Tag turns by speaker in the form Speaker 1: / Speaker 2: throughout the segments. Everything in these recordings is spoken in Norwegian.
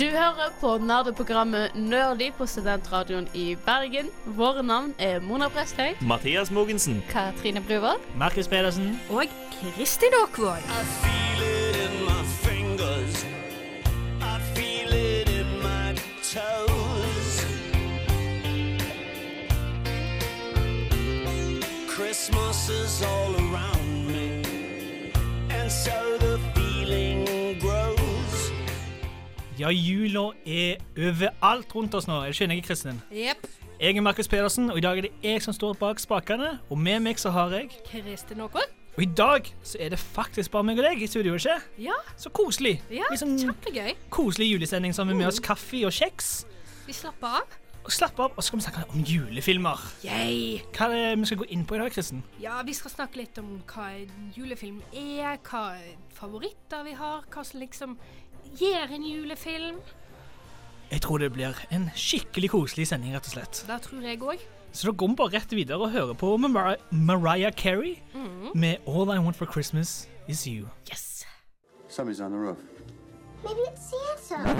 Speaker 1: Du hører på nerdeprogrammet Nerdy på Studentradioen i Bergen. Våre navn er Mona Presthaug.
Speaker 2: Mathias Mogensen.
Speaker 1: Katrine Bruvoll.
Speaker 2: Markus Pedersen.
Speaker 3: Og Kristin Aakvåg.
Speaker 4: Christmas is all around me, and so the feeling grows.
Speaker 5: Ja, jula er overalt rundt oss nå. Er du ikke enig, Kristin?
Speaker 3: Jepp.
Speaker 5: Jeg er Markus Pedersen, og i dag er det jeg som står bak spakene. Og med meg så har jeg
Speaker 3: Kristin Aakvåg.
Speaker 5: Og i dag så er det faktisk bare meg og deg i studio, ikke?
Speaker 3: Ja,
Speaker 5: Så koselig.
Speaker 3: ja
Speaker 5: Litt sånn
Speaker 3: kjempegøy.
Speaker 5: koselig julesending sammen med oss kaffe og kjeks.
Speaker 3: Vi slapper av.
Speaker 5: Og slapp av, og så skal vi snakke om julefilmer.
Speaker 3: Yay.
Speaker 5: Hva er det vi skal gå inn på i dag, Kristin?
Speaker 3: Ja, vi skal snakke litt om hva en julefilm er, hva favoritter vi har, hva som liksom gjør en julefilm.
Speaker 5: Jeg tror det blir en skikkelig koselig sending, rett og slett.
Speaker 3: Det tror jeg òg.
Speaker 5: Så da går vi bare rett videre og hører på Mar Mariah Carey
Speaker 3: Mm.
Speaker 5: med All I Want for Christmas Is You.
Speaker 3: Yes.
Speaker 6: Somebody's on the roof.
Speaker 7: Maybe it's Santa.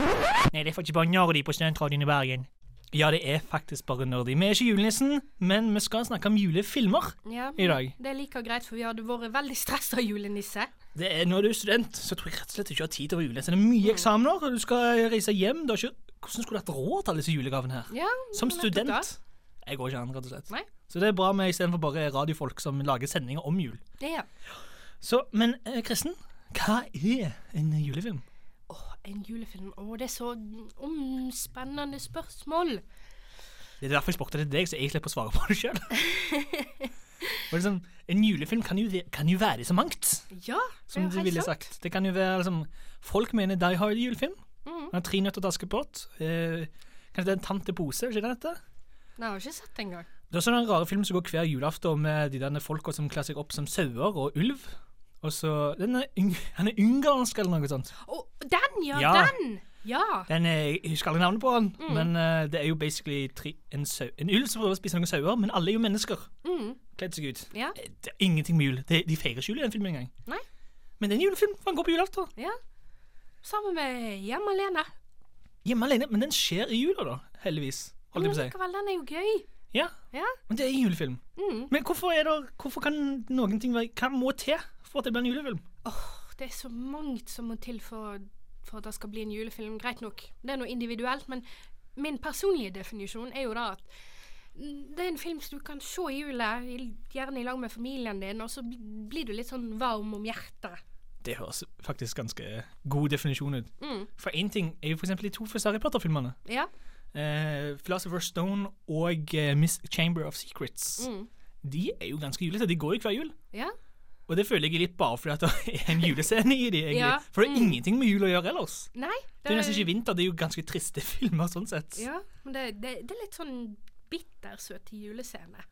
Speaker 5: Nei, det er faktisk bare nerdy på Studentradioen i Bergen. Ja, det er faktisk bare nerdy. Vi er ikke julenissen, men vi skal snakke om julefilmer
Speaker 3: Ja,
Speaker 5: i dag.
Speaker 3: Det er like greit, for vi hadde vært veldig stressa av julenisse.
Speaker 5: Det er, når du er student, så tror jeg rett og slett ikke du har tid til å være julenisse. Det er
Speaker 3: Mm.
Speaker 5: mye eksamener, og du skal reise hjem. Du har ikke, hvordan skulle du hatt råd til alle disse julegavene her?
Speaker 3: Ja,
Speaker 5: Som
Speaker 3: Mm, nettopp da.
Speaker 5: student. Jeg går ikke an, rett og slett.
Speaker 3: Nei.
Speaker 5: Så det er bra med istedenfor bare radiofolk som lager sendinger om jul.
Speaker 3: Det er
Speaker 5: Så, men eh, Kristen, hva er en julefilm?
Speaker 3: Åh, en julefilm. Åh, det er så omspennende spørsmål.
Speaker 5: Det er derfor jeg spurte det til deg, så jeg slipper å svare på det sjøl. Sånn, en julefilm kan jo, ve- kan jo være så mangt,
Speaker 3: Ja,
Speaker 5: som
Speaker 3: det
Speaker 5: du
Speaker 3: er jo
Speaker 5: ville
Speaker 3: helt sant.
Speaker 5: sagt. Det kan jo være liksom, Folk mener Die Hard er julefilm.
Speaker 3: Mhm.
Speaker 5: Den har Tre nøtter til Askepott. Eh, kanskje det er en tante pose? er ikke det dette?
Speaker 3: Nei, jeg har ikke sett det engang.
Speaker 5: Det er også den rare filmen som går hver julaften med de derne folka som kler seg opp som sauer og ulv. Og så, den er, ung- Han er ungarsk eller noe sånt.
Speaker 3: Å, den, ja,
Speaker 5: Ja.
Speaker 3: Den! Ja.
Speaker 5: Den er, jeg husker aldri navnet på den,
Speaker 3: Mm.
Speaker 5: men eh, det er jo basically tre, en, sau, en ulv som prøver å spise noen sauer, men alle er jo mennesker.
Speaker 3: Mm.
Speaker 5: Kledd seg ut.
Speaker 3: Ja.
Speaker 5: Eh, Det er ingenting med jul. De, de feirer ikke jul i den filmen engang.
Speaker 3: Nei.
Speaker 5: Men det er en julefilm, for han går på julaften.
Speaker 3: ja. Sammen med Hjemme alene.
Speaker 5: Hjemme alene, men den skjer i jula, da. Heldigvis. Holdt
Speaker 3: Men
Speaker 5: jeg på å si.
Speaker 3: likevel, den er jo gøy.
Speaker 5: Ja,
Speaker 3: Ja.
Speaker 5: men det er en julefilm.
Speaker 3: Mm.
Speaker 5: Men hvorfor, er det, hvorfor kan noen ting være Hva må til for at det blir en julefilm?
Speaker 3: Det er så mangt som må til for, for at det skal bli en julefilm. Greit nok, det er noe individuelt, men min personlige definisjon er jo da at mm, det er en film som du kan se i jula, i- gjerne i lag med familien din, og så bl- blir du litt sånn varm om hjertet.
Speaker 5: Det høres faktisk ganske god definisjon ut.
Speaker 3: Mm.
Speaker 5: For én ting er jo for eksempel de to første Harry Potter-filmene.
Speaker 3: Ja.
Speaker 5: Eh, Philosopher's Stone og eh, Miss Chamber of Secrets.
Speaker 3: Mm.
Speaker 5: De er jo ganske julete. De går jo hver jul.
Speaker 3: Ja.
Speaker 5: Og det føler jeg litt bare fordi at det er en julescene i de, egentlig.
Speaker 3: Ja,
Speaker 5: For det er ingenting med jul å gjøre ellers.
Speaker 3: Nei.
Speaker 5: Det er jo nesten ikke vinter, det er jo ganske triste filmer sånn sett.
Speaker 3: Ja, men det, det, det er litt sånn bittersøt julescene.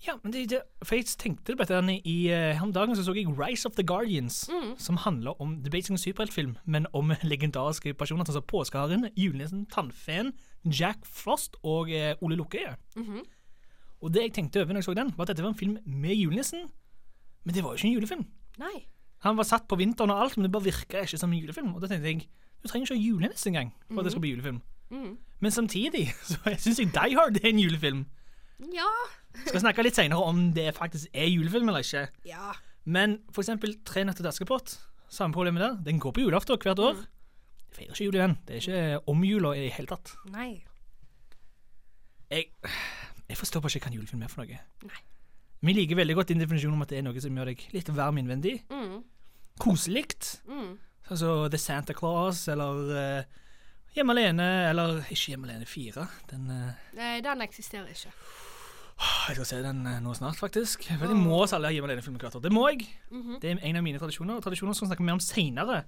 Speaker 5: Ja, men det, det, for jeg tenkte på dette her i eh, her om dagen, så så jeg Rise of the Guardians, som handler om The Basic Superheltfilm, men om legendariske personer sånn som Påskeharen, Julenissen, Tannfeen, Jack Frost og eh, Ole Lukkøye. Og det jeg tenkte over når jeg så den, var at dette var en film med julenissen, men det var jo ikke en julefilm.
Speaker 3: Nei.
Speaker 5: Han var satt på vinteren og alt, men det bare virka ikke som en julefilm. Og da tenkte jeg du trenger ikke ha julenisse engang for at det skal bli julefilm. Men samtidig så syns jeg Die Hard er en julefilm.
Speaker 3: Ja.
Speaker 5: Skal snakke litt seinere om det faktisk er julefilm eller ikke.
Speaker 3: Ja.
Speaker 5: Men for eksempel Tre nøtter til Askepott. Samme problemet der. Den går på julaften hvert år. Jeg Feirer ikke jul i den. Det er ikke om jula i det hele tatt.
Speaker 3: Nei.
Speaker 5: Jeg, jeg forstår bare ikke hva en julefilm er for noe.
Speaker 3: Nei.
Speaker 5: Vi liker veldig godt din definisjon om at det er noe som gjør deg litt varm innvendig.
Speaker 3: Mm.
Speaker 5: Koselig.
Speaker 3: Mm.
Speaker 5: Sånn som The Santa Claus, eller eh, Hjemme alene, eller ikke Hjemme alene 4. Den, eh,
Speaker 3: Nei, den eksisterer ikke.
Speaker 5: jeg skal se den eh, nå snart, faktisk. For jeg
Speaker 3: Mm.
Speaker 5: må se alle Hjemme alene-filmer hvert år. Det må jeg.
Speaker 3: Mhm.
Speaker 5: Det er en av mine tradisjoner, og tradisjoner skal vi snakke mer om seinere.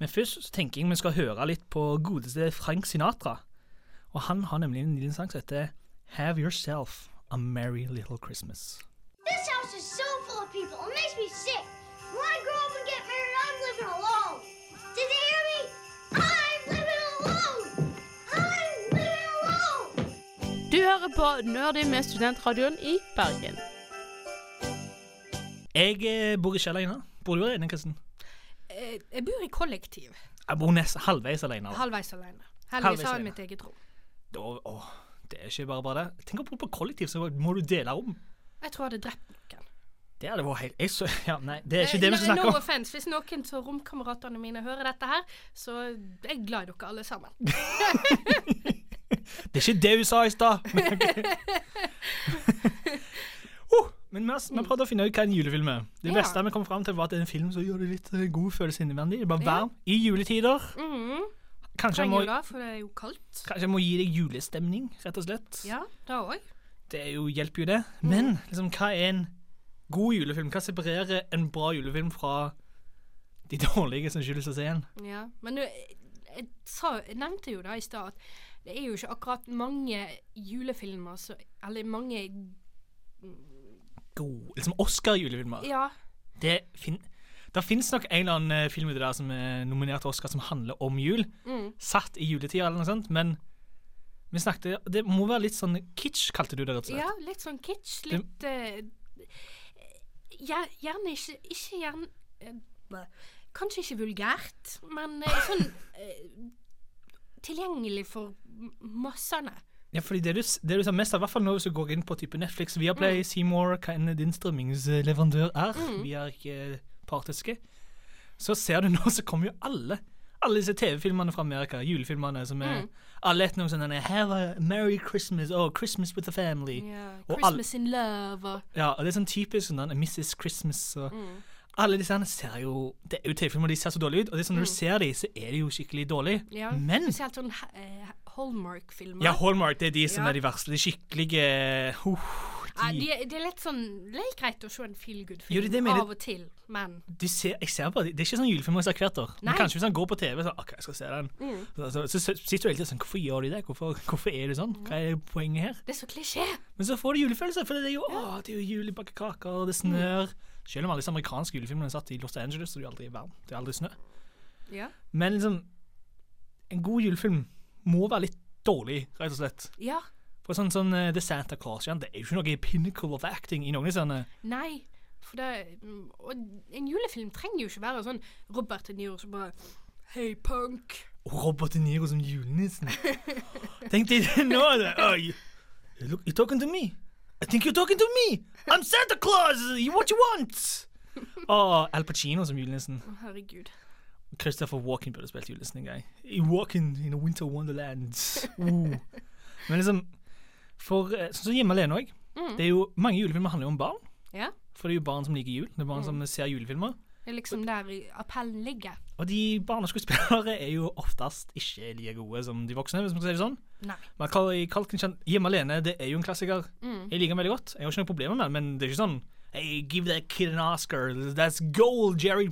Speaker 5: Men først så tenker jeg vi skal høre litt på godeste Frank Sinatra. Og han har nemlig en liten sang som heter Have Yourself a Merry Little Christmas.
Speaker 7: This house is so full of people. It makes me sick. When I grow up and get married, I'm living alone. Did you hear me? I'm living alone. I'm living alone.
Speaker 1: Du hører på Nerdy med Studentradioen i Bergen.
Speaker 5: Jeg eh, bor ikke alene. Bor du alene, Kristen?
Speaker 3: Eh, Jeg bor i kollektiv.
Speaker 5: Jeg bor nest halvveis alene. da.
Speaker 3: Halvveis alene.
Speaker 5: Halvveis
Speaker 3: Heldigvis har jeg
Speaker 5: alene.
Speaker 3: mitt eget rom.
Speaker 5: Da, åh, det er ikke bare bare det. Tenk å bo på kollektiv, så må du dele om.
Speaker 3: Jeg tror jeg hadde drept noen.
Speaker 5: Det hadde vært helt jeg, så, ja, Nei, det er ikke det vi
Speaker 3: Eh,
Speaker 5: skal
Speaker 3: no
Speaker 5: snakke om.
Speaker 3: offense. Hvis noen av romkameratene mine hører dette her, så er jeg glad i dere alle sammen.
Speaker 5: Det er ikke det hun sa i stad. Men, uh, men vi, har- vi prøvde å finne ut hva en julefilm er. Det
Speaker 3: Ja.
Speaker 5: beste vi kom fram til, var at det er en film som gjør det litt eh, god følelse innvendig. Det er Bare
Speaker 3: Ja.
Speaker 5: varm i juletider.
Speaker 3: Mm.
Speaker 5: Kanskje jeg,
Speaker 3: Trenger
Speaker 5: må,
Speaker 3: jo det, for det er jo kaldt.
Speaker 5: kanskje jeg må gi deg julestemning, rett og slett.
Speaker 3: Ja, det òg.
Speaker 5: Det er jo, hjelper jo det.
Speaker 3: Mm.
Speaker 5: Men liksom, hva er en god julefilm? Hva separerer en bra julefilm fra de dårlige som skyldes å se en?
Speaker 3: Ja. Men du, jeg, jeg, sa, jeg nevnte jo det i stad, at det er jo ikke akkurat mange julefilmer som Eller mange
Speaker 5: God, liksom Oscar-julefilmer.
Speaker 3: Ja.
Speaker 5: Det fin da fins nok en eller annen eh, film ute der som er nominert til Oscar som handler om jul.
Speaker 3: Mm.
Speaker 5: Satt i juletida eller noe sånt, men vi snakket Det må være litt sånn kitsch, kalte du det, rett og slett.
Speaker 3: Ja, litt sånn kitsch. Litt eh, gjer- Gjerne ikke Ikke gjerne eh, bæ. Kanskje ikke vulgært, men eh, sånn eh, Tilgjengelig for m- massene.
Speaker 5: Ja, fordi det du, s- det du ser mest av, i hvert fall nå hvis du går inn på type Netflix, Viaplay,
Speaker 3: Mm.
Speaker 5: Seymour, hva enn din strømmingsleverandør er, vi er ikke partiske, så ser du nå så kommer jo alle. Alle disse TV-filmene fra Amerika, julefilmene som er
Speaker 3: Mm.
Speaker 5: Alle etter noen sånne sånn Have a Merry Christmas og Christmas with the Family. Og alle-
Speaker 3: Christmas in love og
Speaker 5: Ja, og det er sånn typisk sånn der, Mrs. Christmas og
Speaker 3: Mm.
Speaker 5: Alle disse her ser jo Det er jo TV-filmer, de ser så dårlige ut, og det er sånn når du ser dem, så er de jo skikkelig dårlige.
Speaker 3: Mm. ja,
Speaker 5: Men
Speaker 3: Spesielt sånn eh, Hallmark-filmer.
Speaker 5: Ja, Hallmark, det er de som
Speaker 3: Ja.
Speaker 5: er de verste. De skikkelige uh,
Speaker 3: Nei,
Speaker 5: de,
Speaker 3: det, det er litt sånn Det er litt greit å se en feel
Speaker 5: Jo, det er det jeg
Speaker 3: good-film
Speaker 5: mener.
Speaker 3: av og til, men
Speaker 5: de ser, jeg ser bare, Det er ikke sånn julefilmer jeg ser hvert år. Men
Speaker 3: Nei.
Speaker 5: kanskje hvis han går på TV, så OK, jeg skal se den. Så, så, så, sitter du hele tiden sånn Hvorfor gjør de det? Hvorfor, hvorfor er det sånn? Hva er poenget her?
Speaker 3: det er så klisjé.
Speaker 5: Men så får du julefølelse, for det er jo å, det er jo jul, de baker kaker, og det snør. Selv om alle disse amerikanske julefilmene er satt i Los Angeles, så det er jo aldri varm. Det er aldri snø.
Speaker 3: Ja.
Speaker 5: Men liksom En god julefilm må være litt dårlig, rett og slett.
Speaker 3: ja.
Speaker 5: For sånn, sånn eh, The Santa Claus, ja, det er jo ikke noe pinnacle of acting i noen av sånne
Speaker 3: Nei, for det mm, Og en julefilm trenger jo ikke være sånn Robert De Niro som bare Hei, punk!
Speaker 5: Og Robert De Niro som julenissen. Tenkte jeg det nå? da. Oi. You Look, you're talking to me. I think you're talking to me. I'm Santa Claus. You what you want? Og Al Pacino som julenissen.
Speaker 3: Å, Herregud.
Speaker 5: Christopher Walken burde spilt julenissen en gang. I Walken in a winter wonderland. Uh. Men liksom For eh, sånn som Hjemme alene òg. Det er jo mange julefilmer handler jo om barn.
Speaker 3: Ja.
Speaker 5: For det er jo barn som liker jul. Det er barn som ser julefilmer.
Speaker 3: Det er liksom der i- appellen ligger.
Speaker 5: Og de barneskuespillere er jo oftest ikke like gode som de voksne, hvis man skal si det sånn.
Speaker 3: Nei.
Speaker 5: Macaulay Culkin kjent Hjemme alene det er jo en klassiker.
Speaker 3: Mm.
Speaker 5: Jeg liker den veldig godt. Jeg har ikke noe problemer med den, men det er ikke sånn Hey, give that kid an Oscar. That's gold, Jerry.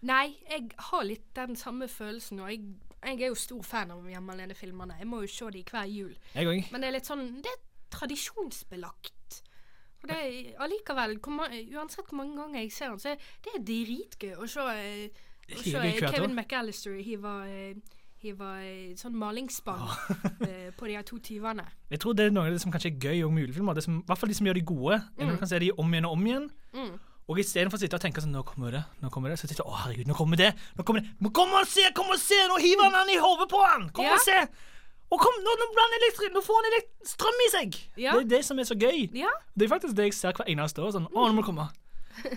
Speaker 3: Nei, jeg har litt den samme følelsen, og jeg, jeg er jo stor fan av Hjemme alene-filmene. Jeg må jo se de hver jul.
Speaker 5: Jeg òg.
Speaker 3: Men det er litt sånn Det er tradisjonsbelagt. Og det er allikevel hvor ma- Uansett hvor mange ganger jeg ser den, så er det er dritgøy å se, eh, å
Speaker 5: Like
Speaker 3: se
Speaker 5: gøy
Speaker 3: eh,
Speaker 5: hvert
Speaker 3: Kevin
Speaker 5: år.
Speaker 3: McAllister hive eh, hive, eh, sånn malingsspann eh, på de her to tyvene.
Speaker 5: Jeg tror det er noe av det som kanskje er gøy også med julefilmer. Det som, I hvert fall de som gjør de gode. er
Speaker 3: Mm.
Speaker 5: Når du kan se de om igjen og om igjen. Og istedenfor å sitte og tenke sånn Nå kommer det, nå kommer det. Så sitter jeg, Å, herregud, nå kommer det. Nå kommer det. Men kom og se, kom og se! Nå hiver han han i hodet på han! Kom
Speaker 3: Ja.
Speaker 5: og se! Og kom, nå, nå, blir han elektri- nå får han elekt strøm i seg!
Speaker 3: Ja.
Speaker 5: Det er det som er så gøy.
Speaker 3: Ja.
Speaker 5: Det er faktisk det jeg ser hver eneste år. Sånn, å, nå må du komme.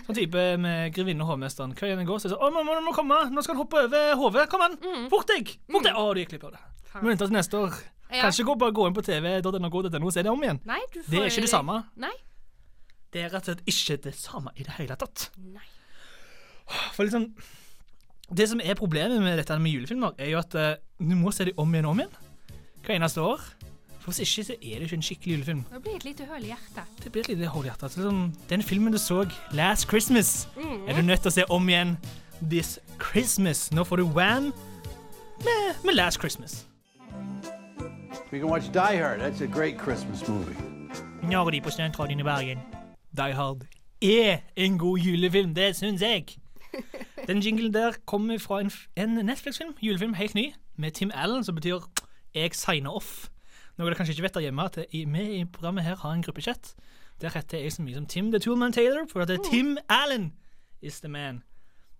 Speaker 5: Sånn type med grevinne og hovmesteren. Hver gang jeg går, så er det sånn, å, nå må nå må du komme. Nå skal han hoppe over hodet. Kom an.
Speaker 3: Mm.
Speaker 5: Fort deg. Fort deg. Å, du gikk glipp av det. Må vente til neste år.
Speaker 3: Ja.
Speaker 5: Kanskje gå, bare gå inn på tv.no og se det om igjen.
Speaker 3: Nei, du får eh,
Speaker 5: Det er ikke det samme.
Speaker 3: Nei.
Speaker 5: Det er rett og slett ikke det samme i det hele tatt.
Speaker 3: Nei.
Speaker 5: For liksom, det som er problemet med dette her med julefilmer, er jo at eh, du må se dem om igjen og om igjen. Hver eneste år. For hvis ikke, så er det ikke en skikkelig julefilm.
Speaker 3: Det blir et lite høl i hjertet.
Speaker 5: Det blir et lite hull i hjertet. Så Liksom, den filmen du så last Christmas, er du nødt til å se om igjen this Christmas. Nå får du Wham med, med Last Christmas.
Speaker 6: We can watch Die Hard. That's a great Christmas movie.
Speaker 5: Når de på Stuntradioen i Bergen. Die Hard er en god julefilm, det syns jeg. Den jinglen der kommer fra en, f- en Netflix-film, julefilm helt ny, med Tim Allen, som betyr 'jeg signer off'. Noe dere kanskje ikke vet der hjemme, at i- vi i programmet her har en gruppechat. Der heter jeg så mye som Tim The Toolman Taylor, for at det er Tim Allen is the man.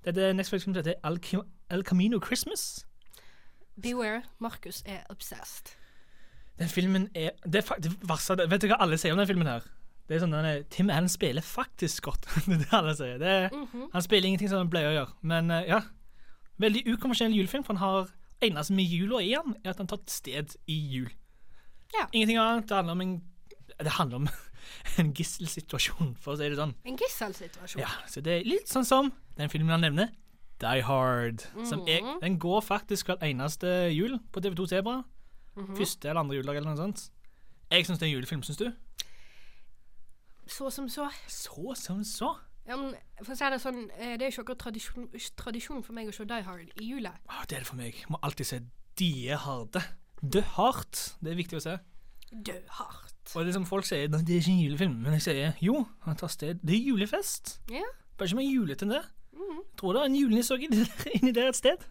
Speaker 5: Dette Netflix-filmen heter El, Ki- El Camino Christmas.
Speaker 3: Beware, Markus er obsessed.
Speaker 5: Den filmen er det, er fak- det verste, Vet du hva alle sier om den filmen her? Det er sånn denne, Tim Allen spiller faktisk godt. det er det alle sier. Det, er- Han spiller ingenting som han pleier å gjøre. Men eh, ja, veldig ukonvensjonell julefilm, for han har eneste med jula i han, er at han tar et sted i jul.
Speaker 3: Ja.
Speaker 5: Ingenting annet. Det handler om en, det handler om en gisselsituasjon, for å si det sånn.
Speaker 3: En gisselsituasjon.
Speaker 5: Ja, så det er litt sånn som den filmen han nevner, Die Hard. Som er, den går faktisk hver eneste jul på TV2 Sebra. Første eller andre juledag eller noe sånt. Jeg syns det er en julefilm, syns du?
Speaker 3: Så som så.
Speaker 5: Så som så.
Speaker 3: Ja, men for å si det sånn, eh, det er ikke akkurat tradisjon, tradisjon for meg å se Die Hard i jula.
Speaker 5: Å, Ah, det er det for meg. Må alltid se Die Harde. Dø hardt. Det er viktig å se.
Speaker 3: Dø hardt.
Speaker 5: Og det som folk sier, det er ikke en julefilm, men jeg sier jo, han tar sted. Det er julefest.
Speaker 3: Ja.
Speaker 5: Bare ikke mer julete enn det. Tror det er en julenisse også inni- inni der et sted.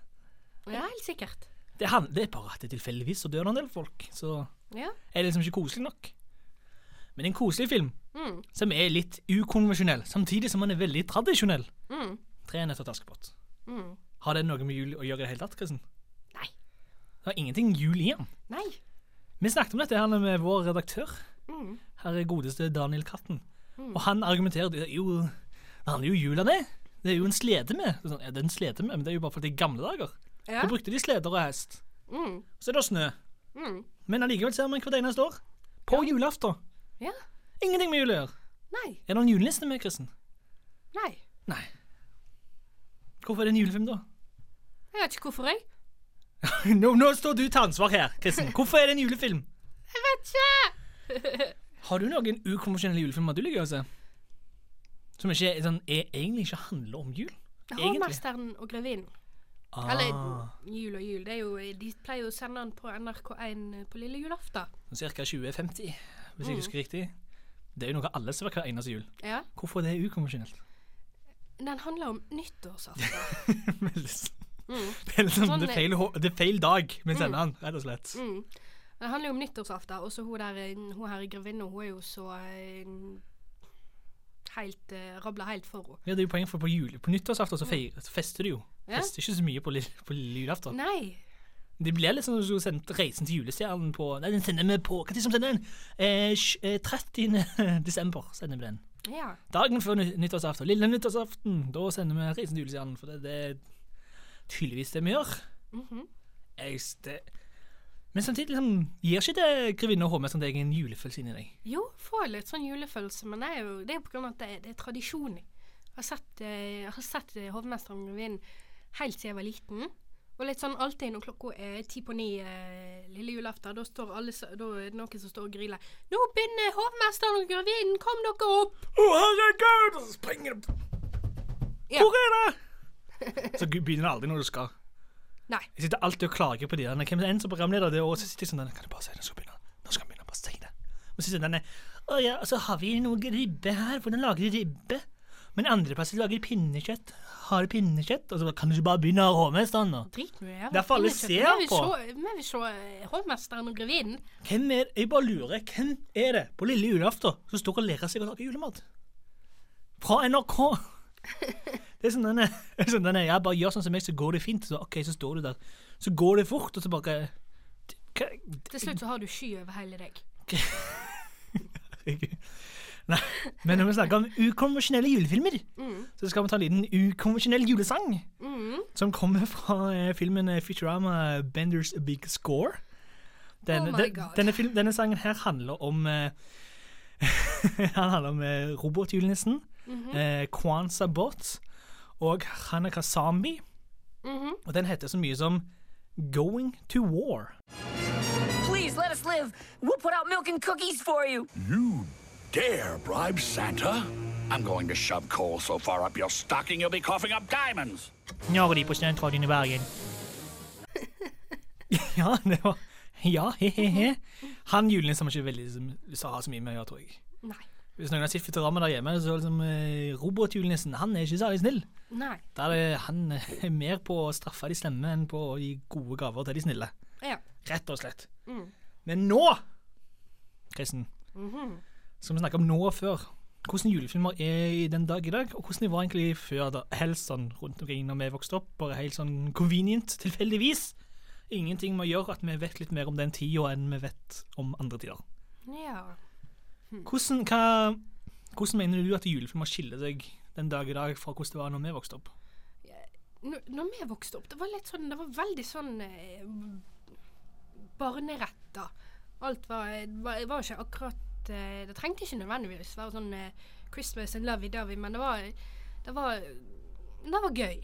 Speaker 3: ja, helt sikkert.
Speaker 5: Det, han, det er bare at det tilfeldigvis så dør det en del folk, så
Speaker 3: Ja.
Speaker 5: er liksom ikke koselig nok. Men en koselig film
Speaker 3: Mm.
Speaker 5: som er litt ukonvensjonell, samtidig som den er veldig tradisjonell.
Speaker 3: Mm.
Speaker 5: Tre nøtter til Askepott.
Speaker 3: Mm.
Speaker 5: Har det noe med jul å gjøre i det hele tatt, Kristen?
Speaker 3: Nei.
Speaker 5: Det har ingenting jul i den.
Speaker 3: Nei.
Speaker 5: Vi snakket om dette her med vår redaktør,
Speaker 3: Mm.
Speaker 5: herre godeste Daniel Katten. Og han argumenterte jo Det handler jo om jula, det. Det er jo en slede med. Så Sånn, ja, det er en slede med, men det er jo bare for de gamle dager.
Speaker 3: Ja.
Speaker 5: Da brukte de sleder og hest.
Speaker 3: Mm.
Speaker 5: Så er det snø.
Speaker 3: Mm.
Speaker 5: Men allikevel ser man hvert eneste år. På julaften.
Speaker 3: Ja.
Speaker 5: Ingenting med jul å gjøre.
Speaker 3: Nei.
Speaker 5: Er det en juleliste med, Kristen?
Speaker 3: Nei.
Speaker 5: Nei. Hvorfor er det en julefilm, da?
Speaker 3: Jeg vet ikke hvorfor, jeg.
Speaker 5: Nå, nå står du til ansvar her, Kristen. Hvorfor er det en julefilm?
Speaker 3: Jeg vet ikke!
Speaker 5: Har du noen ukonvensjonelle julefilmer du liker å se? Som ikke, er sånn, er, egentlig ikke handler om jul? Egentlig.
Speaker 3: Hovmesteren og grevinnen. Eller Jul og jul. Det er jo, de pleier jo å sende den på NRK1 på lille julaften.
Speaker 5: Ca. 2050, hvis
Speaker 3: Mm.
Speaker 5: jeg husker riktig. Det er jo noe alle ser hver eneste jul.
Speaker 3: Ja.
Speaker 5: Hvorfor er det ukonvensjonelt?
Speaker 3: Den handler om nyttårsaften.
Speaker 5: Veldig s- Det er liksom
Speaker 3: Sånn
Speaker 5: det, er
Speaker 3: er-
Speaker 5: feil, hå- det er feil dag vi sender han, rett og slett.
Speaker 3: Mm. Den handler jo om nyttårsaften, og så hun der eh, hun her i grevinna, hun er jo så eh, Helt eh, Rabla helt for henne.
Speaker 5: Ja, det er jo poeng for på, jul, på nyttårsaften så feir, så fester du jo.
Speaker 3: Mm. Ja.
Speaker 5: Fester ikke så mye på, lille- på lille julaften.
Speaker 3: Nei.
Speaker 5: Det blir litt sånn som du sendte Reisen til julestjernen på Nei, den sender vi på Når sender den? Eh, sj- eh, 30. desember sender vi den.
Speaker 3: Ja.
Speaker 5: Dagen før ny- nyttårsaften. Lille nyttårsaften. Da sender vi Reisen til julestjernen, for det, det er tydeligvis det vi gjør.
Speaker 3: Mhm.
Speaker 5: Jeg s- det. Men samtidig liksom, gir ikke det Grevinne og Hovmesteren deg en julefølelse inni deg?
Speaker 3: Jo, får litt sånn julefølelse, men det er jo det er jo på grunn av at det er, det er tradisjon. Jeg har sett, eh, jeg har sett eh, Hovmesteren og grevinnen helt siden jeg var liten. Og litt sånn alltid når klokka er ti på ni eh, lille julaften, da, står alle, s- da er det noen som står og griler. 'Nå begynner Hovmesteren og grevinnen, kom dere opp!'
Speaker 5: Å, herregud! Og så springer det
Speaker 3: Ja.
Speaker 5: Hvor er det? Så gu- begynner det aldri når du skal.
Speaker 3: Nei.
Speaker 5: Jeg sitter alltid og klager på de der. Hvem er det en som programleder det året? Så sitter jeg sånn der, Kan du bare si det? Nå skal jeg begynne. Nå skal jeg begynne. Bare si det. Og så sitter den der Å ja, og så har vi noe ribbe her. Hvordan lager de ribbe? Men andre plasser lager de pinnekjøtt. Har de pinnekjøtt? Og så bare, kan du ikke bare begynne å sånn, ha hovmesteren nå?
Speaker 3: Drit nå i det.
Speaker 5: Det er for alle ser på.
Speaker 3: Vi vil se eh, Hovmesteren og grevinnen.
Speaker 5: Hvem er Jeg bare lurer. Hvem er det på lille julaften som står og lærer seg å lage julemat? Fra NRK! Det er sånn denne, det er sånn denne Jeg bare gjør sånn som meg, så går det fint. Så, ok, så står du der. Så går det fort, og så bare hva,
Speaker 3: Til slutt så har du sky over hele deg.
Speaker 5: Nei, men når vi snakker om ukonvensjonelle julefilmer,
Speaker 3: Mm.
Speaker 5: så skal vi ta en liten ukonvensjonell julesang. Som kommer fra eh, filmen eh, Futurama Benders Big Score. Denne,
Speaker 3: Oh my
Speaker 5: den-
Speaker 3: God.
Speaker 5: denne, film, denne sangen her handler om eh, Han handler om eh, robotjulenissen,
Speaker 3: Mhm.
Speaker 5: eh, Kwanza Bot og Hanaka Zambi.
Speaker 3: Mhm.
Speaker 5: Og den heter så mye som Going to War.
Speaker 8: Please let us live. We'll put out milk and cookies for you.
Speaker 9: You dare bribe Santa? I'm going to shove coal so far up your stocking you'll be coughing up diamonds.
Speaker 5: Når de på studentradioen i Bergen. ja, det var Ja, he-he-he. Han julenissen som ikke veldig som, sa så mye med å gjøre, tror jeg.
Speaker 3: Nei.
Speaker 5: Hvis noen har sett Futurama der hjemme, så er det liksom eh, robotjulenissen Han er ikke særlig snill.
Speaker 3: Nei.
Speaker 5: Der er han eh, er mer på å straffe de slemme enn på å gi gode gaver til de snille.
Speaker 3: Ja.
Speaker 5: Rett og slett. Men nå, Kristen, skal vi snakke om nå og før. hvordan julefilmer er i den dag i dag, og hvordan de var egentlig før. da, Helst sånn rundt omkring når vi vokste opp, bare helt sånn convenient, tilfeldigvis. Ingenting med å gjøre at vi vet litt mer om den tida enn vi vet om andre tider.
Speaker 3: Ja.
Speaker 5: Hvordan, hva, hvordan mener du at julefilmer skiller seg den dag i dag fra hvordan det var når vi vokste opp?
Speaker 3: Når, når vi vokste opp, det var litt sånn Det var veldig sånn eh, barneretta. Alt var Det var, det var ikke akkurat eh, Det trengte ikke nødvendigvis være sånn eh, Christmas and lovey dovey, men det var Det var Det var gøy.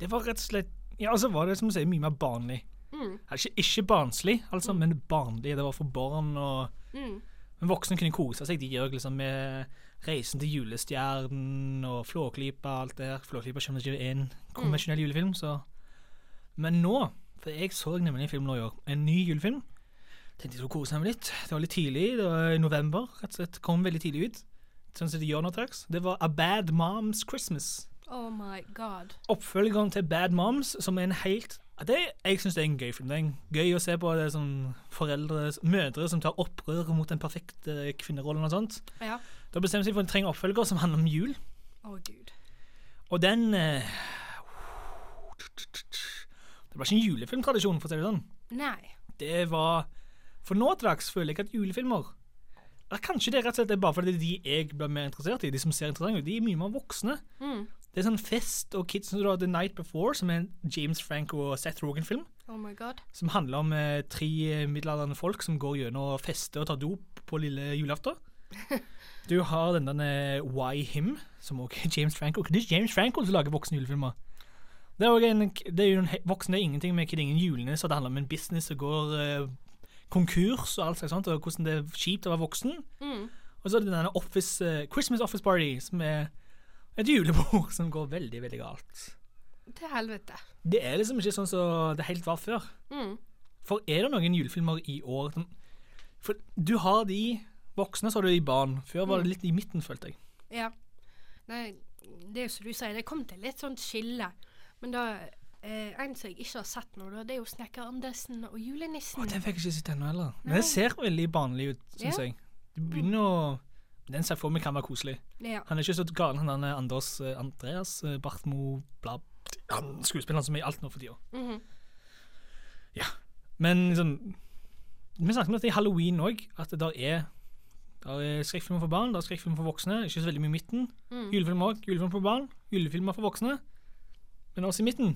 Speaker 5: Det var rett og slett Ja, altså var det som du sier, mye mer barnlig. Ja, Ikke, ikke barnslig, altså, men barnlig. Det var for barn og Men voksne kunne kose seg, de òg, liksom, med Reisen til julestjernen og Flåklypa og alt det der. Flåklypa skjønner ikke er en konvensjonell julefilm, så Men nå, for jeg så nemlig en film nå i år, en ny julefilm. Tenkte jeg skulle kose meg litt. Det var litt tidlig, det var i november. rett og slett, Kom veldig tidlig ut. Sånn som de gjør nå til dags. Det var A Bad Mom's Christmas
Speaker 3: Oh my god.
Speaker 5: oppfølgeren til Bad Moms, som er en helt det, Jeg syns det er en gøy film. Det er en gøy å se på det er sånn foreldre, mødre som tar opprør mot den perfekte kvinnerollen og sånt.
Speaker 3: Ja.
Speaker 5: Da bestemmer seg for en trenger oppfølger som handler om jul,
Speaker 3: Oh gud.
Speaker 5: og den eh, Det var ikke en julefilmtradisjon, for å si det sånn.
Speaker 3: Nei.
Speaker 5: Det var For nå til dags føler jeg at julefilmer ja, Kanskje det rett og slett er bare fordi de jeg blir mer interessert i, de som ser interessante ut, de er mye mer voksne. Det er sånn fest og kids som du har The Night Before, som er en James Franco og Seth Rogan-film,
Speaker 3: Oh my god.
Speaker 5: som handler om eh, tre eh, middelaldrende folk som går gjennom og fester og tar dop på lille julaften. Du har den der eh, Why Him, som også er James Franco. Det er ikke James Franco som lager voksne julefilmer. Det er, også en, det er jo en he- voksne det er ingenting med Kid Ingen julene, så det handler om en business som går eh, konkurs og alt slags sånt, og hvordan det er kjipt å være voksen. Og så er det denne office, eh, Christmas Office Party, som er et julebord som går veldig, veldig galt.
Speaker 3: Til helvete.
Speaker 5: Det er liksom ikke sånn som det helt var før. For er det noen julefilmer i år som For du har de voksne, så har du de barn. Før var det litt i midten, følte jeg.
Speaker 3: Ja. Nei, det er jo som du sier, det kom til litt sånt skille. Men da eh, En som jeg ikke har sett nå, da, det er jo Snekker Andersen og Julenissen.
Speaker 5: Og den fikk jeg ikke sett ennå heller. Men den ser veldig barnlig ut, syns
Speaker 3: Ja.
Speaker 5: jeg. Du begynner å Den ser jeg for meg kan være koselig.
Speaker 3: ja.
Speaker 5: Han er ikke så gal, han der Anders eh, Andreas eh, Bartmo bla, han, Skuespilleren som er i alt nå for tida. Ja. Men liksom Vi snakket om dette i halloween òg, at det der er der er skrekkfilmer for barn, der er skrekkfilmer for voksne. Ikke så veldig mye i midten. Julefilmer òg. Julefilmer for barn, julefilmer for voksne. Men også i midten.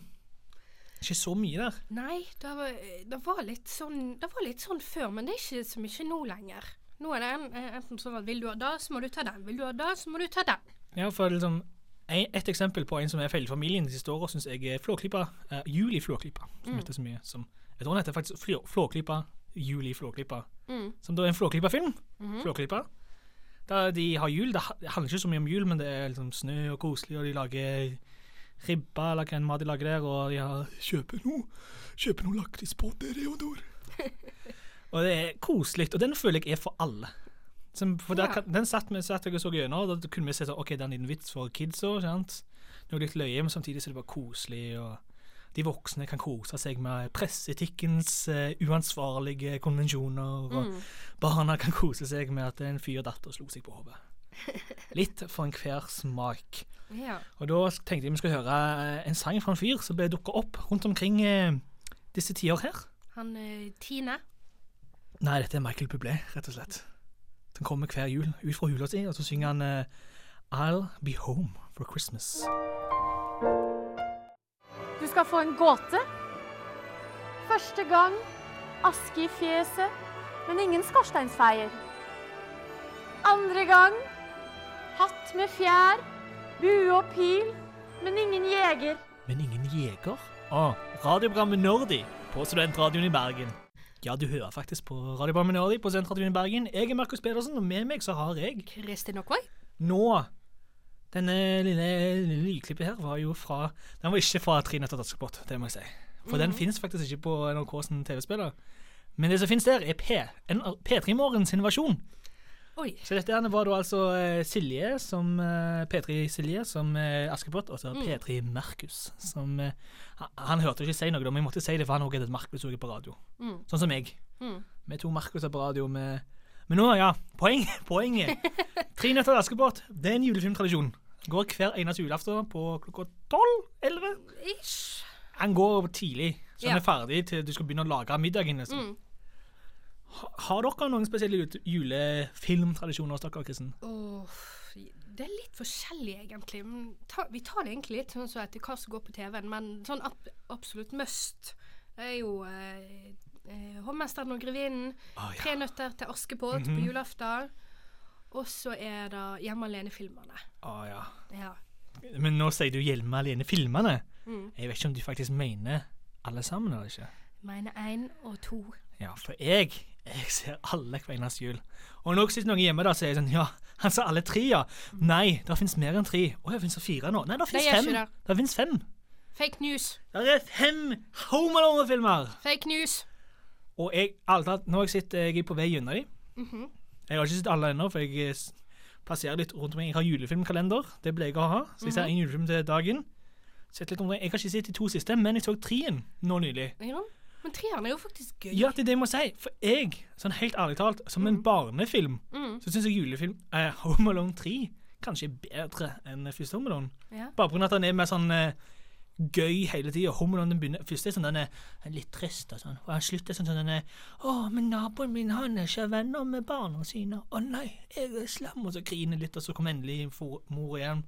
Speaker 5: Ikke så mye der.
Speaker 3: Nei, det var, det var litt sånn Det var litt sånn før, men det er ikke så mye nå lenger. Nå er det en, eh, enten sånn at vil du ha det, så må du ta den. Vil du ha det, så må du ta den.
Speaker 5: Ja, for liksom en- Et eksempel på en som er feil i familien de siste åra, syns jeg er Flåklypa. eh, Juli Flåklypa, som heter så mye som Jeg tror den heter faktisk Flå, Flåklypa. Juli Flåklypa. Som da er en Flåklypa-film. Flåklypa. Da de har jul. Det ha- det handler ikke så mye om jul, men det er liksom snø og koselig, og de lager ribba eller hva enn mat de lager der, og de har Kjøper noe Kjøper noe lakris på Reodor. og det er koselig, og den føler jeg er for alle. Som, for der,
Speaker 3: Ja.
Speaker 5: kan- Den satt vi satt jeg og så gjennom, og da kunne vi se sånn, ok, det er en liten vits for kids også, sant? Noe litt løye, men samtidig så er det bare koselig. og De voksne kan kose seg med presseetikkens eh, uansvarlige konvensjoner. og Barna kan kose seg med at en fyr og datter slo seg på hodet. Litt for enhver smak.
Speaker 3: Ja.
Speaker 5: Og da tenkte jeg vi skulle høre eh, en sang fra en fyr som ble dukka opp rundt omkring eh, disse tider her.
Speaker 3: Han eh, Tine.
Speaker 5: Nei, dette er Michael Bublé, rett og slett. Den kommer hver jul, ut fra hula si, og så synger han eh, I'll be home for Christmas.
Speaker 10: Du skal få en gåte. Første gang aske i fjeset, men ingen skorsteinsfeier. Andre gang hatt med fjær, bue og pil, men ingen jeger.
Speaker 5: Men ingen jeger? Ah, radioprogrammet Nordi på Studentradioen i Bergen. Ja, du hører faktisk på radioprogrammet Nordi på Studentradioen i Bergen. Jeg er Markus Pedersen, og med meg så har jeg
Speaker 3: Kristin Okwai.
Speaker 5: nå Denne lille, lille lydklippet her var jo fra Den var ikke fra Tre nøtter til Askepott, det må jeg si. For den fins faktisk ikke på NRK sin TV-spiller. Men det som fins der, er P, P3 Morgen sin versjon.
Speaker 3: Oi.
Speaker 5: Så dette her var da altså eh, Silje som eh, P3 Silje som eh, Askepott, og så P3 Markus som eh, han, han hørte ikke si noe, da, men jeg måtte si det, for han også heter Markus og er på radio. Sånn som meg. Vi to Markuser på radio med Men nå, ja. Poeng, poenget. Tre nøtter til Askepott. Det er en julefilmtradisjon. Går hver eneste julaften på klokka tolv? Elleve?
Speaker 3: Ish.
Speaker 5: Han går tidlig, så han
Speaker 3: Ja.
Speaker 5: er ferdig til du skal begynne å lage middagen. Liksom.
Speaker 3: Mm.
Speaker 5: Ha- Har dere noen spesielle jule- julefilmtradisjoner hos dere, Kristen?
Speaker 3: Åh, det er litt forskjellig, egentlig. Men ta, vi tar det egentlig litt sånn som etter hva som går på TV-en, men sånn ab absolutt must det er jo eh, eh, 'Hovmesteren og grevinnen',
Speaker 5: Å, Ah, ja.
Speaker 3: 'Tre nøtter til Askepott'
Speaker 5: Mhm.
Speaker 3: på julaften. Og så er det 'Hjemme alene-filmene'.
Speaker 5: Å ja.
Speaker 3: Ja.
Speaker 5: Men nå sier du 'Hjelme alene'-filmene.
Speaker 3: Mm.
Speaker 5: Jeg vet ikke om du faktisk mener alle sammen eller ikke.
Speaker 3: Mine én og to.
Speaker 5: Ja, for jeg, jeg ser alle hver eneste jul. Og når jeg sitter noen hjemme da, så er jeg sånn, ja, han sa alle tre, ja. Nei, det finnes mer enn tre. Åja, det finnes det fire nå. Nei, det finnes
Speaker 3: Nei, jeg
Speaker 5: fem.
Speaker 3: skjønner.
Speaker 5: Det finnes fem.
Speaker 3: Fake news!
Speaker 5: Det er fem Home Alone-filmer.
Speaker 3: Fake news!
Speaker 5: Og jeg, alt, alt, når jeg sitter, jeg er på vei gjennom dem.
Speaker 3: Mhm.
Speaker 5: Jeg har ikke sett alle ennå, for jeg eh, s- passerer litt rundt omkring. Jeg har julefilmkalender, det pleier jeg å ha. Så jeg
Speaker 3: Mhm.
Speaker 5: ser en julefilm til dagen. Sett litt omkring. Jeg har ikke sett de to siste, men jeg så treen nå nylig.
Speaker 3: Ja. Men treeren er jo faktisk gøy.
Speaker 5: Ja, det er det jeg må si. For jeg, sånn helt ærlig talt, som en barnefilm,
Speaker 3: Mm.
Speaker 5: så syns jeg julefilm eh, Home Alone 3 kanskje er bedre enn første Home Alone.
Speaker 3: Ja.
Speaker 5: Bare pga. at den er mer sånn eh, gøy hele tida. Home Alone den begynner, første er sånn den er litt trist og sånn. Og han slutter sånn sånn den er Å, men naboen min, han er ikke venner med barna sine. Å nei, jeg er slem. Og så griner litt, og så kommer endelig for, mor igjen.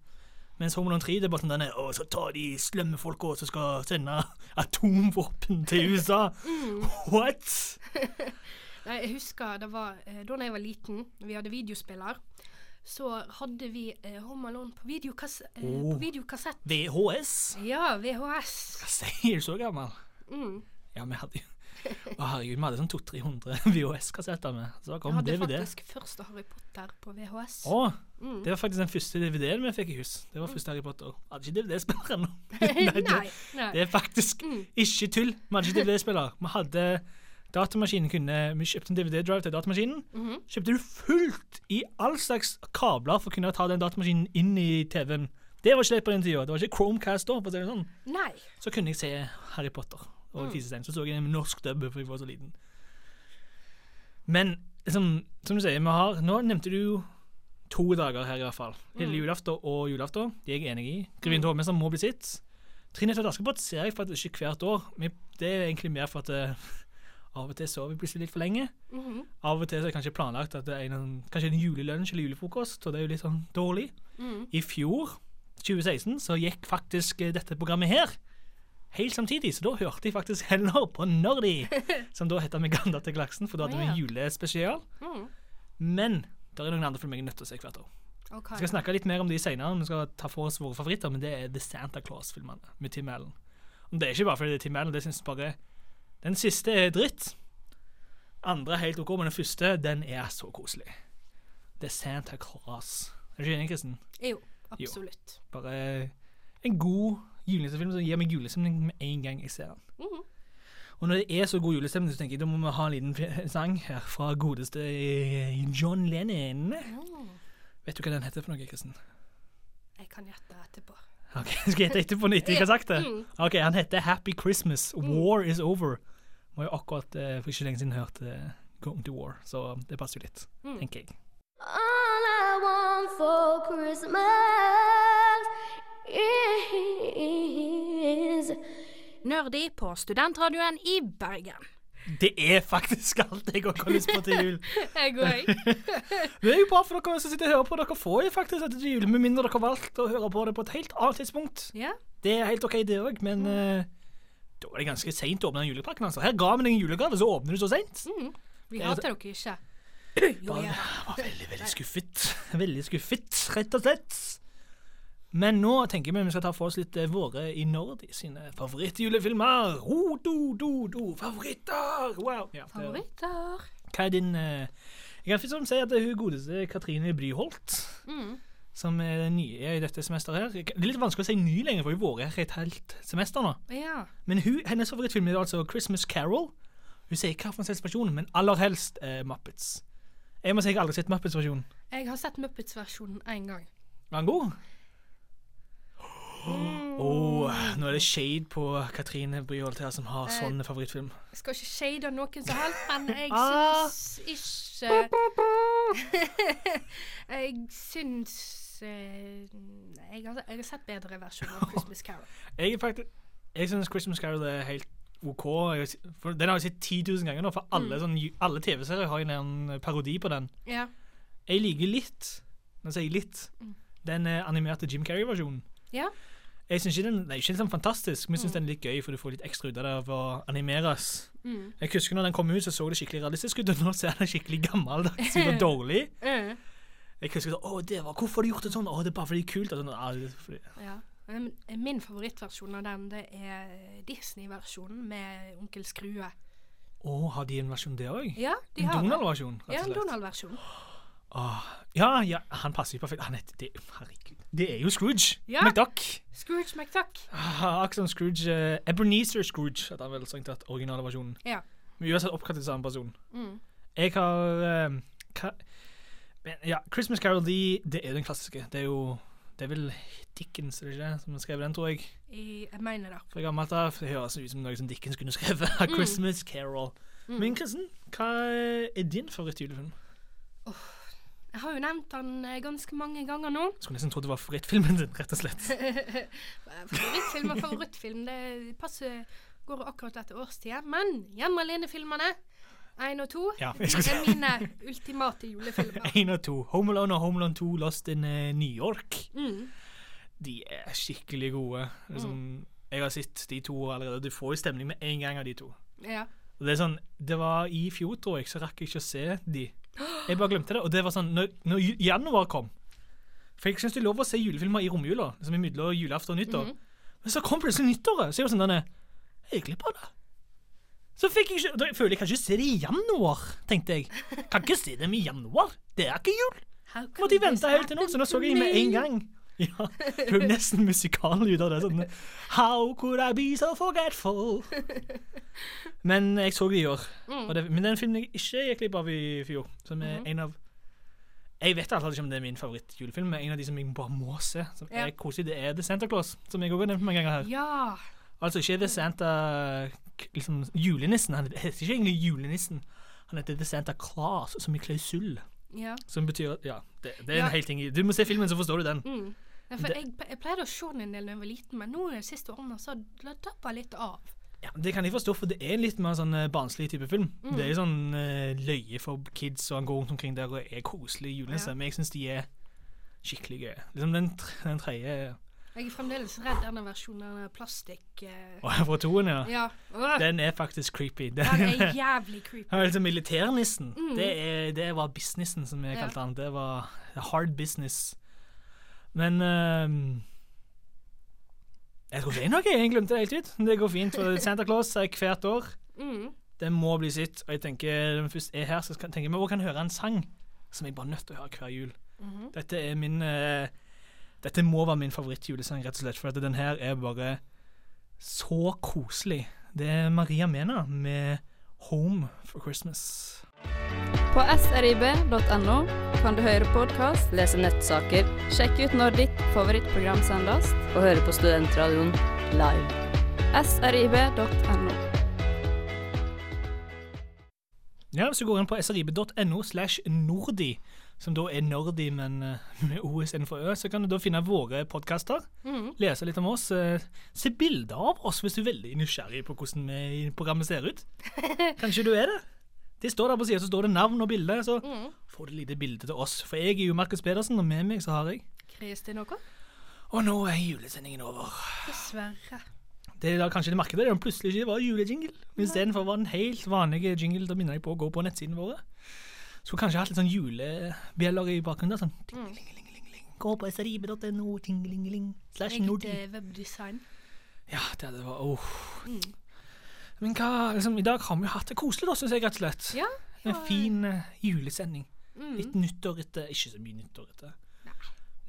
Speaker 5: Mens Home Alone 3 det er bare sånn den er Å, så tar de slemme folka som skal sende atomvåpen
Speaker 3: Mm.
Speaker 5: til USA. What?
Speaker 3: Nei, jeg husker det var eh, da jeg var liten, vi hadde videospiller, så hadde vi eh, Home Alone på, videokass eh, på
Speaker 5: Oh.
Speaker 3: videokassett.
Speaker 5: VHS?
Speaker 3: Ja, VHS.
Speaker 5: Hva sier du så gammel?
Speaker 3: Mm.
Speaker 5: Ja, vi hadde jo Å herregud, vi hadde sånn 200-300 VHS-kassetter med. Så da
Speaker 3: Jeg
Speaker 5: kom
Speaker 3: hadde
Speaker 5: DVD.
Speaker 3: faktisk første Harry Potter på VHS.
Speaker 5: Å,
Speaker 3: Mm.
Speaker 5: det var faktisk den første DVD-en vi fikk i hus. Det var første Harry Potter. Hadde ikke DVD-spiller ennå.
Speaker 3: nei,
Speaker 5: det,
Speaker 3: nei.
Speaker 5: det er faktisk ikke tull. Vi hadde ikke DVD-spiller. Vi hadde datamaskinen kunne Vi kjøpte en DVD-drive til datamaskinen. Kjøpte du fullt i all slags kabler for å kunne ta den datamaskinen inn i TV-en. Det var ikke lett på den tida. Det var ikke Chromecast da, for å si det sånn.
Speaker 3: nei.
Speaker 5: så kunne jeg se Harry Potter og mm. Fisestein. Så så jeg den med norsk dub, for jeg var så liten. Men som, som du sier, vi har Nå nevnte du jo to dager her, i hvert fall. Lille julaften og julaften. De er jeg enig i. Grevinnen til hovmesteren må bli sitt. Trine til Askepott ser jeg faktisk ikke hvert år. Men det er egentlig mer for at eh, av og til sover jeg plutselig litt for lenge. Av og til så er det kanskje planlagt at det er en, kanskje en julelunsj eller julefrokost, og det er jo litt sånn dårlig. I fjor, 2016, så gikk faktisk eh, dette programmet her helt samtidig, så da hørte jeg faktisk heller på Nerdy, som da heter Meganda til Glaksen, for da hadde vi en julespesial.
Speaker 3: Mm.
Speaker 5: Men det er noen andre filmer jeg er nødt til å se hvert år.
Speaker 3: Ok.
Speaker 5: Vi skal snakke litt mer om de senere, vi skal ta for oss våre favoritter, men det er The Santa Claus-filmene med Tim Allen. Og det er ikke bare fordi det er Tim Allen, det synes jeg bare Den siste er dritt. Andre er helt OK, men den første, den er så koselig. The Santa Claus. Er du ikke enig, Kristen?
Speaker 3: Jo, absolutt.
Speaker 5: Bare en god julenissen-film som gir meg julestemning med en gang jeg ser den.
Speaker 3: Mhm.
Speaker 5: Og når det er så god julestemning, så tenker jeg da må vi ha en liten f- sang her fra godeste eh, John Lennon. Vet du hva den heter for noe, Kristen?
Speaker 3: Jeg kan gjette etterpå.
Speaker 5: Ok, Skal jeg gjette etterpå når jeg ikke har sagt det? Ok, Han heter Happy Christmas, War is over. Vi har jo akkurat eh, for ikke lenge siden hørt eh, Going to War, så det passer jo litt, tenker jeg.
Speaker 7: All I want for Christmas is
Speaker 3: Nerdy på Studentradioen i Bergen.
Speaker 5: Det er faktisk alt jeg også har lyst på til jul.
Speaker 3: Jeg òg.
Speaker 5: Det er jo bra for dere som sitter og hører på. Dere får jo faktisk dette til jul, med mindre dere har valgt å høre på det på et helt annet tidspunkt.
Speaker 3: ja.
Speaker 5: Det er helt OK, det òg, men eh, da er det ganske seint å åpne den julepakken. Altså. Her ga vi deg en julegave, så åpner du så seint.
Speaker 3: Vi hater dere ikke. Jo,
Speaker 5: Bare-
Speaker 3: ja.
Speaker 5: var Ah, veldig, veldig skuffet. Veldig skuffet, rett og slett. Men nå tenker vi vi skal ta for oss litt eh, våre i Nordi sine favorittjulefilmer. Ho, do, do, do, favoritter! Wow. Ja, det-
Speaker 3: Favoritter.
Speaker 5: Hva er din eh, Jeg kan først og fremst si at det er hun godeste Katrine Bryholt. Som er den nye i dette semesteret. her. Det er litt vanskelig å si ny lenger, for hun har vært her i et helt semester nå.
Speaker 3: Ja.
Speaker 5: Men hun, hennes favorittfilm er altså 'Christmas Carol'. Hun sier hva for en versjon, men aller helst eh, Muppets. Jeg må si jeg har aldri sett Muppets-versjonen.
Speaker 3: Jeg har sett Muppets-versjonen én gang.
Speaker 5: Var den god? Oh, nå er det shade på Katrine Bryholt her, som har sånn favorittfilm.
Speaker 3: Jeg skal ikke shade noen som helst, men jeg
Speaker 5: Ah.
Speaker 3: syns ikke Jeg syns eh, jeg, har, jeg har sett bedre versjoner av Christmas Carol.
Speaker 5: Jeg er faktisk Jeg syns Christmas Carol er helt OK. Jeg, for den har jeg sett 10 000 ganger nå, for alle, sånn, ju- alle TV-serier har jo en parodi på den.
Speaker 3: Ja.
Speaker 5: Jeg liker litt Nå sier jeg litt den eh, animerte Jim Carrey-versjonen.
Speaker 3: ja.
Speaker 5: Jeg synes ikke den, den er ikke sånn fantastisk, men jeg syns den er litt gøy, for du får litt ekstra ut av det av å animeres.
Speaker 3: Mm.
Speaker 5: Jeg husker når den kom ut, så så det skikkelig realistisk ut, og nå ser den skikkelig gammeldags ut og dårlig.
Speaker 3: Mm.
Speaker 5: Jeg husker sånn, å, det var, Hvorfor har de gjort det sånn? Å, det er bare fordi det er kult. Og sånn, «Ah, det er fordi.
Speaker 3: Ja. Men eh, Min favorittversjon av den det er Disney-versjonen med Onkel Skrue.
Speaker 5: Å, har de en versjon der òg?
Speaker 3: Ja, de
Speaker 5: en
Speaker 3: har det.
Speaker 5: Donald-versjon, rett
Speaker 3: Ja, en
Speaker 5: og slett.
Speaker 3: Donald-versjon.
Speaker 5: Åh, Ja, ja, han passer jo perfekt. Han er, det, herregud. Det er jo Scrooge.
Speaker 3: Ja.
Speaker 5: McDuck.
Speaker 3: Scrooge McDuck.
Speaker 5: Ah, Akkurat som Scrooge. eh, Ebenezer Scrooge heter han vel strengt tatt. Originale versjonen.
Speaker 3: Ja.
Speaker 5: Men uansett oppkalt etter samme person.
Speaker 3: Mm.
Speaker 5: Jeg har eh, hva, men, Ja, Christmas Carol de, det er jo den klassiske. Det er jo Det er vel Dickens, er det ikke det, som har skrevet den, tror jeg.
Speaker 3: I, jeg mener det.
Speaker 5: Fra gammelt av. Det høres ut som noe som Dickens kunne skrevet.
Speaker 3: Mm.
Speaker 5: A Christmas Carol. Men Kristen, hva er din favorittjulefilm?
Speaker 3: Jeg har jo nevnt den eh, ganske mange ganger nå.
Speaker 5: Skulle nesten trodd det var favorittfilmen din, rett og slett.
Speaker 3: Eh, Favorittfilm og favorittfilm, det passer går akkurat etter årstida. Men Hjemme alene-filmene, én og to,
Speaker 5: Ja, jeg skulle
Speaker 3: er
Speaker 5: si
Speaker 3: mine ultimate julefilmer.
Speaker 5: Én og to. Home Alone og Home Alone 2 Lost in eh, New York.
Speaker 3: Mm.
Speaker 5: De er skikkelig gode. Liksom, Jeg har sett de to allerede. Du får jo stemning med en gang av de to.
Speaker 3: Ja.
Speaker 5: Og Det er sånn, det var i fjor, tror jeg, så rakk jeg ikke å se de. Jeg bare glemte det. Og det var sånn, når, når ju- januar kom For jeg syns det er lov å se julefilmer i romjula, liksom imellom julaften og nyttår. Men så kom plutselig nyttåret, så jeg var sånn denne Jeg gikk glipp av det. Så fikk jeg ikke da føler jeg kan ikke se det i januar, tenkte jeg. Kan ikke se dem i januar. Det er ikke jul.
Speaker 3: How can
Speaker 5: Måtte jeg
Speaker 3: this
Speaker 5: vente helt til nå, så nå så jeg dem med en gang. Ja, det ble nesten musikal ut av det. Sånn, How could I be so forgetful? Men jeg så det i år. Og det, men den filmen jeg ikke gikk glipp av i fjor, som er en av Jeg vet altså ikke om det er min favorittjulefilm, men en av de som jeg bare må se. Som
Speaker 3: Ja.
Speaker 5: er koselig, Det er The Santa Claus, som jeg også har nevnt mange ganger her.
Speaker 3: Ja.
Speaker 5: Altså ikke The Santa k- liksom, Julenissen. Han heter ikke egentlig Julenissen. Han heter The Santa Claus, som i klausull.
Speaker 3: ja.
Speaker 5: Som betyr at Ja, det, det er
Speaker 3: Ja.
Speaker 5: en hel ting. i- Du må se filmen, så forstår du den.
Speaker 3: Mm. Ja, for
Speaker 5: Det-
Speaker 3: jeg, ple- jeg pleide å se den en del da jeg var liten, men nå de siste årene så har det dabba litt av.
Speaker 5: Ja, det kan jeg forstå, for det er en litt mer sånn eh, barnslig type film.
Speaker 3: Mm.
Speaker 5: Det er jo sånn eh, løye for kids, og han går rundt omkring der og er koselig i julenisse.
Speaker 3: Ja.
Speaker 5: Men jeg syns de er skikkelig gøye. Liksom den, tr- den tredje eh,
Speaker 3: Jeg er fremdeles redd denne versjonen av plastikk... eh,
Speaker 5: Å, fra toen, ja.
Speaker 3: ja. Åh,
Speaker 5: Den er faktisk creepy. Den,
Speaker 3: den er jævlig creepy.
Speaker 5: Han er liksom militærnissen. Det, er, det var businessen, som jeg
Speaker 3: Mm. Ja.
Speaker 5: kalte han. Det var hard business. Men ehm, Jeg tror ikke det er noe. Jeg glemte det helt ut. Det går fint. for Santa Claus er hvert år.
Speaker 3: Mm.
Speaker 5: Det må bli sitt. Og jeg tenker når vi først er her, så skal, tenker jeg vi også kan høre en sang som jeg bare er nødt til å høre hver jul.
Speaker 3: Mm-hmm.
Speaker 5: Dette er min eh, Dette må være min favorittjulesang, rett og slett. For at den her er bare så koselig. Det er Maria Mena med 'Home for Christmas'.
Speaker 11: På srib.no kan du høre podkast, lese nettsaker, sjekke ut når ditt favorittprogram sendes, og høre på Studentradioen live. srib.no.
Speaker 5: Ja, Hvis du går inn på srib.no slash nordi, som da er nordi, men eh, med o istedenfor ø, så kan du da finne våre podkaster.
Speaker 3: Mm.
Speaker 5: Lese litt om oss. eh, Se bilder av oss hvis du er veldig nysgjerrig på hvordan vi i programmet ser ut. Kanskje du er det? Det står der på sida, så står det navn og bilde. Så får du et lite bilde til oss. For jeg er jo Markus Pedersen, og med meg så har jeg
Speaker 3: Kristin Håkon?
Speaker 5: Og nå er julesendingen over.
Speaker 3: Dessverre.
Speaker 5: Det er da kanskje det markedet om plutselig ikke var julejingle. Men istedenfor var den helt vanlige jingle, da minner jeg på å gå på nettsidene våre. Skulle kanskje hatt litt sånn julebjeller i bakgrunnen. der, sånn tingelingelingeling. Gå på srib.no, tingelingeling, slash
Speaker 3: Eget
Speaker 5: nordi.
Speaker 3: eh, webdesign.
Speaker 5: Ja, det hadde vært åh.
Speaker 3: Mm.
Speaker 5: Men hva, liksom, i dag har vi jo hatt det koselig, da, syns jeg, rett og slett.
Speaker 3: Ja,
Speaker 5: En fin eh, julesending.
Speaker 3: Mm.
Speaker 5: Litt nyttår etter Ikke så mye nyttår etter.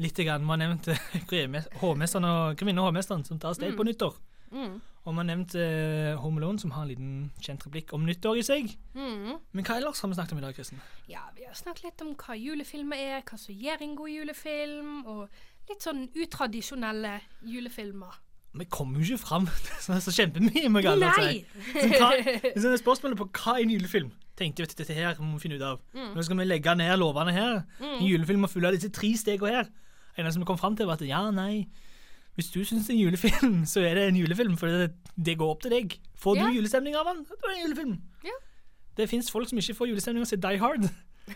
Speaker 5: Litt grann, Man har nevnt eh, Grimmes- hovmesteren og Grevinne og hovmesteren som tar steg på nyttår.
Speaker 3: Mm.
Speaker 5: Og man har nevnt eh, Home Alone, som har en liten kjent replikk om nyttår i seg.
Speaker 3: Mm.
Speaker 5: Men hva ellers har vi snakket om i dag, Kristen?
Speaker 3: Ja, vi har snakket litt om hva julefilmer er, hva som gjør en god julefilm, og litt sånn utradisjonelle julefilmer.
Speaker 5: Vi kommer jo ikke fram så, så kjempemye med alle.
Speaker 3: Nei!
Speaker 5: Så, hva, så er spørsmålet på hva er en julefilm? Tenkte jeg, vet du, dette her må vi finne ut av.
Speaker 3: Mm.
Speaker 5: Nå skal vi legge ned lovene her.
Speaker 3: Mm.
Speaker 5: En julefilm må følge disse tre stegene her. Det eneste vi kom fram til, var at ja, nei Hvis du syns det er en julefilm, så er det en julefilm, for det, det går opp til deg. Får du
Speaker 3: Ja.
Speaker 5: julestemning av den, da er det en julefilm.
Speaker 3: Ja.
Speaker 5: Det fins folk som ikke får julestemning av å se Die Hard.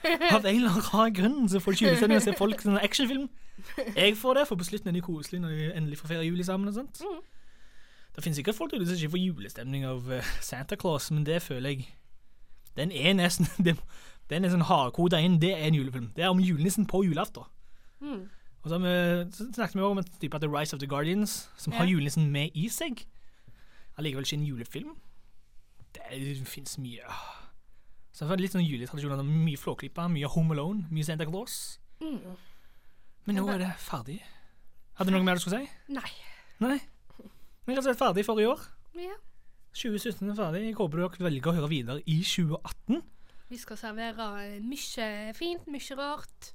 Speaker 5: Av en eller annen grunn så får de ikke julestemning av å se folk som en actionfilm. Jeg får det, for på slutten er de koselige når de endelig får feire juli sammen. og sånt. Det finnes sikkert folk der ute som ikke får julestemning av eh, Santa Claus, men det føler jeg Den er nesten det- Den er sånn hardkoda inn. Det er en julefilm. Det er om julenissen på julaften.
Speaker 3: Mm.
Speaker 5: Og så, har vi, så snakket vi også om en type The Rise of the Guardians, som har
Speaker 3: Ja.
Speaker 5: julenissen med i seg. Allikevel ikke en julefilm. Det fins mye ah. Så det er litt sånn juletradisjoner. det er Mye Flåklypa, mye Home Alone, mye Santa Claus.
Speaker 3: Mm.
Speaker 5: Men nå er det ferdig. Hadde du noe mer du skulle si?
Speaker 3: Nei.
Speaker 5: Nei? Men rett og slett ferdig for i år.
Speaker 3: Ja.
Speaker 5: 2017 er ferdig. Jeg håper dere velger å høre videre i 2018.
Speaker 3: Vi skal servere eh, mye fint, mye rart.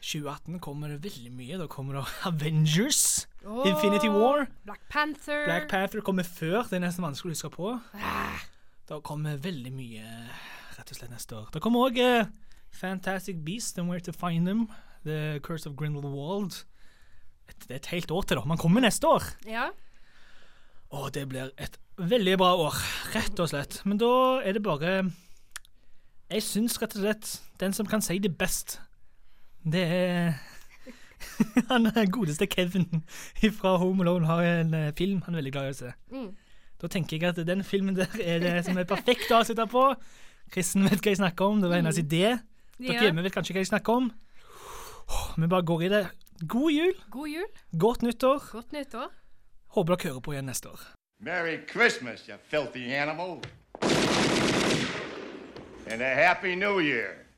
Speaker 5: 2018 kommer det veldig mye. Da kommer det Avengers,
Speaker 3: Åh,
Speaker 5: Infinity War.
Speaker 3: Black Panther.
Speaker 5: Black Panther kommer før. Det er nesten vanskelig å huske på. Ah. Da kommer veldig mye rett og slett neste år. Det kommer òg Fantastic Beast and Where to Find Them. The Curse of Grindelwald. Et- Det er et helt år til, da. Man kommer neste år.
Speaker 3: Ja.
Speaker 5: Og det blir et veldig bra år, rett og slett. Men da er det bare Jeg syns rett og slett den som kan si det best, det er Han er godeste Kevin fra Home Alone har en eh, film han er veldig glad i å se.
Speaker 3: Mm.
Speaker 5: Da tenker jeg at den filmen der er det som er perfekt å avslutte på. Kristen vet hva jeg snakker om, det var hennes idé. Dere
Speaker 3: Mm. Ja.
Speaker 5: hjemme vet kanskje hva jeg snakker om. Åh, Vi bare går i det. God jul,
Speaker 3: God jul.
Speaker 5: godt nyttår.
Speaker 3: Godt nyttår.
Speaker 5: Håper dere hører på igjen neste år.
Speaker 12: Merry Christmas, you filthy animal. And a Happy New Year.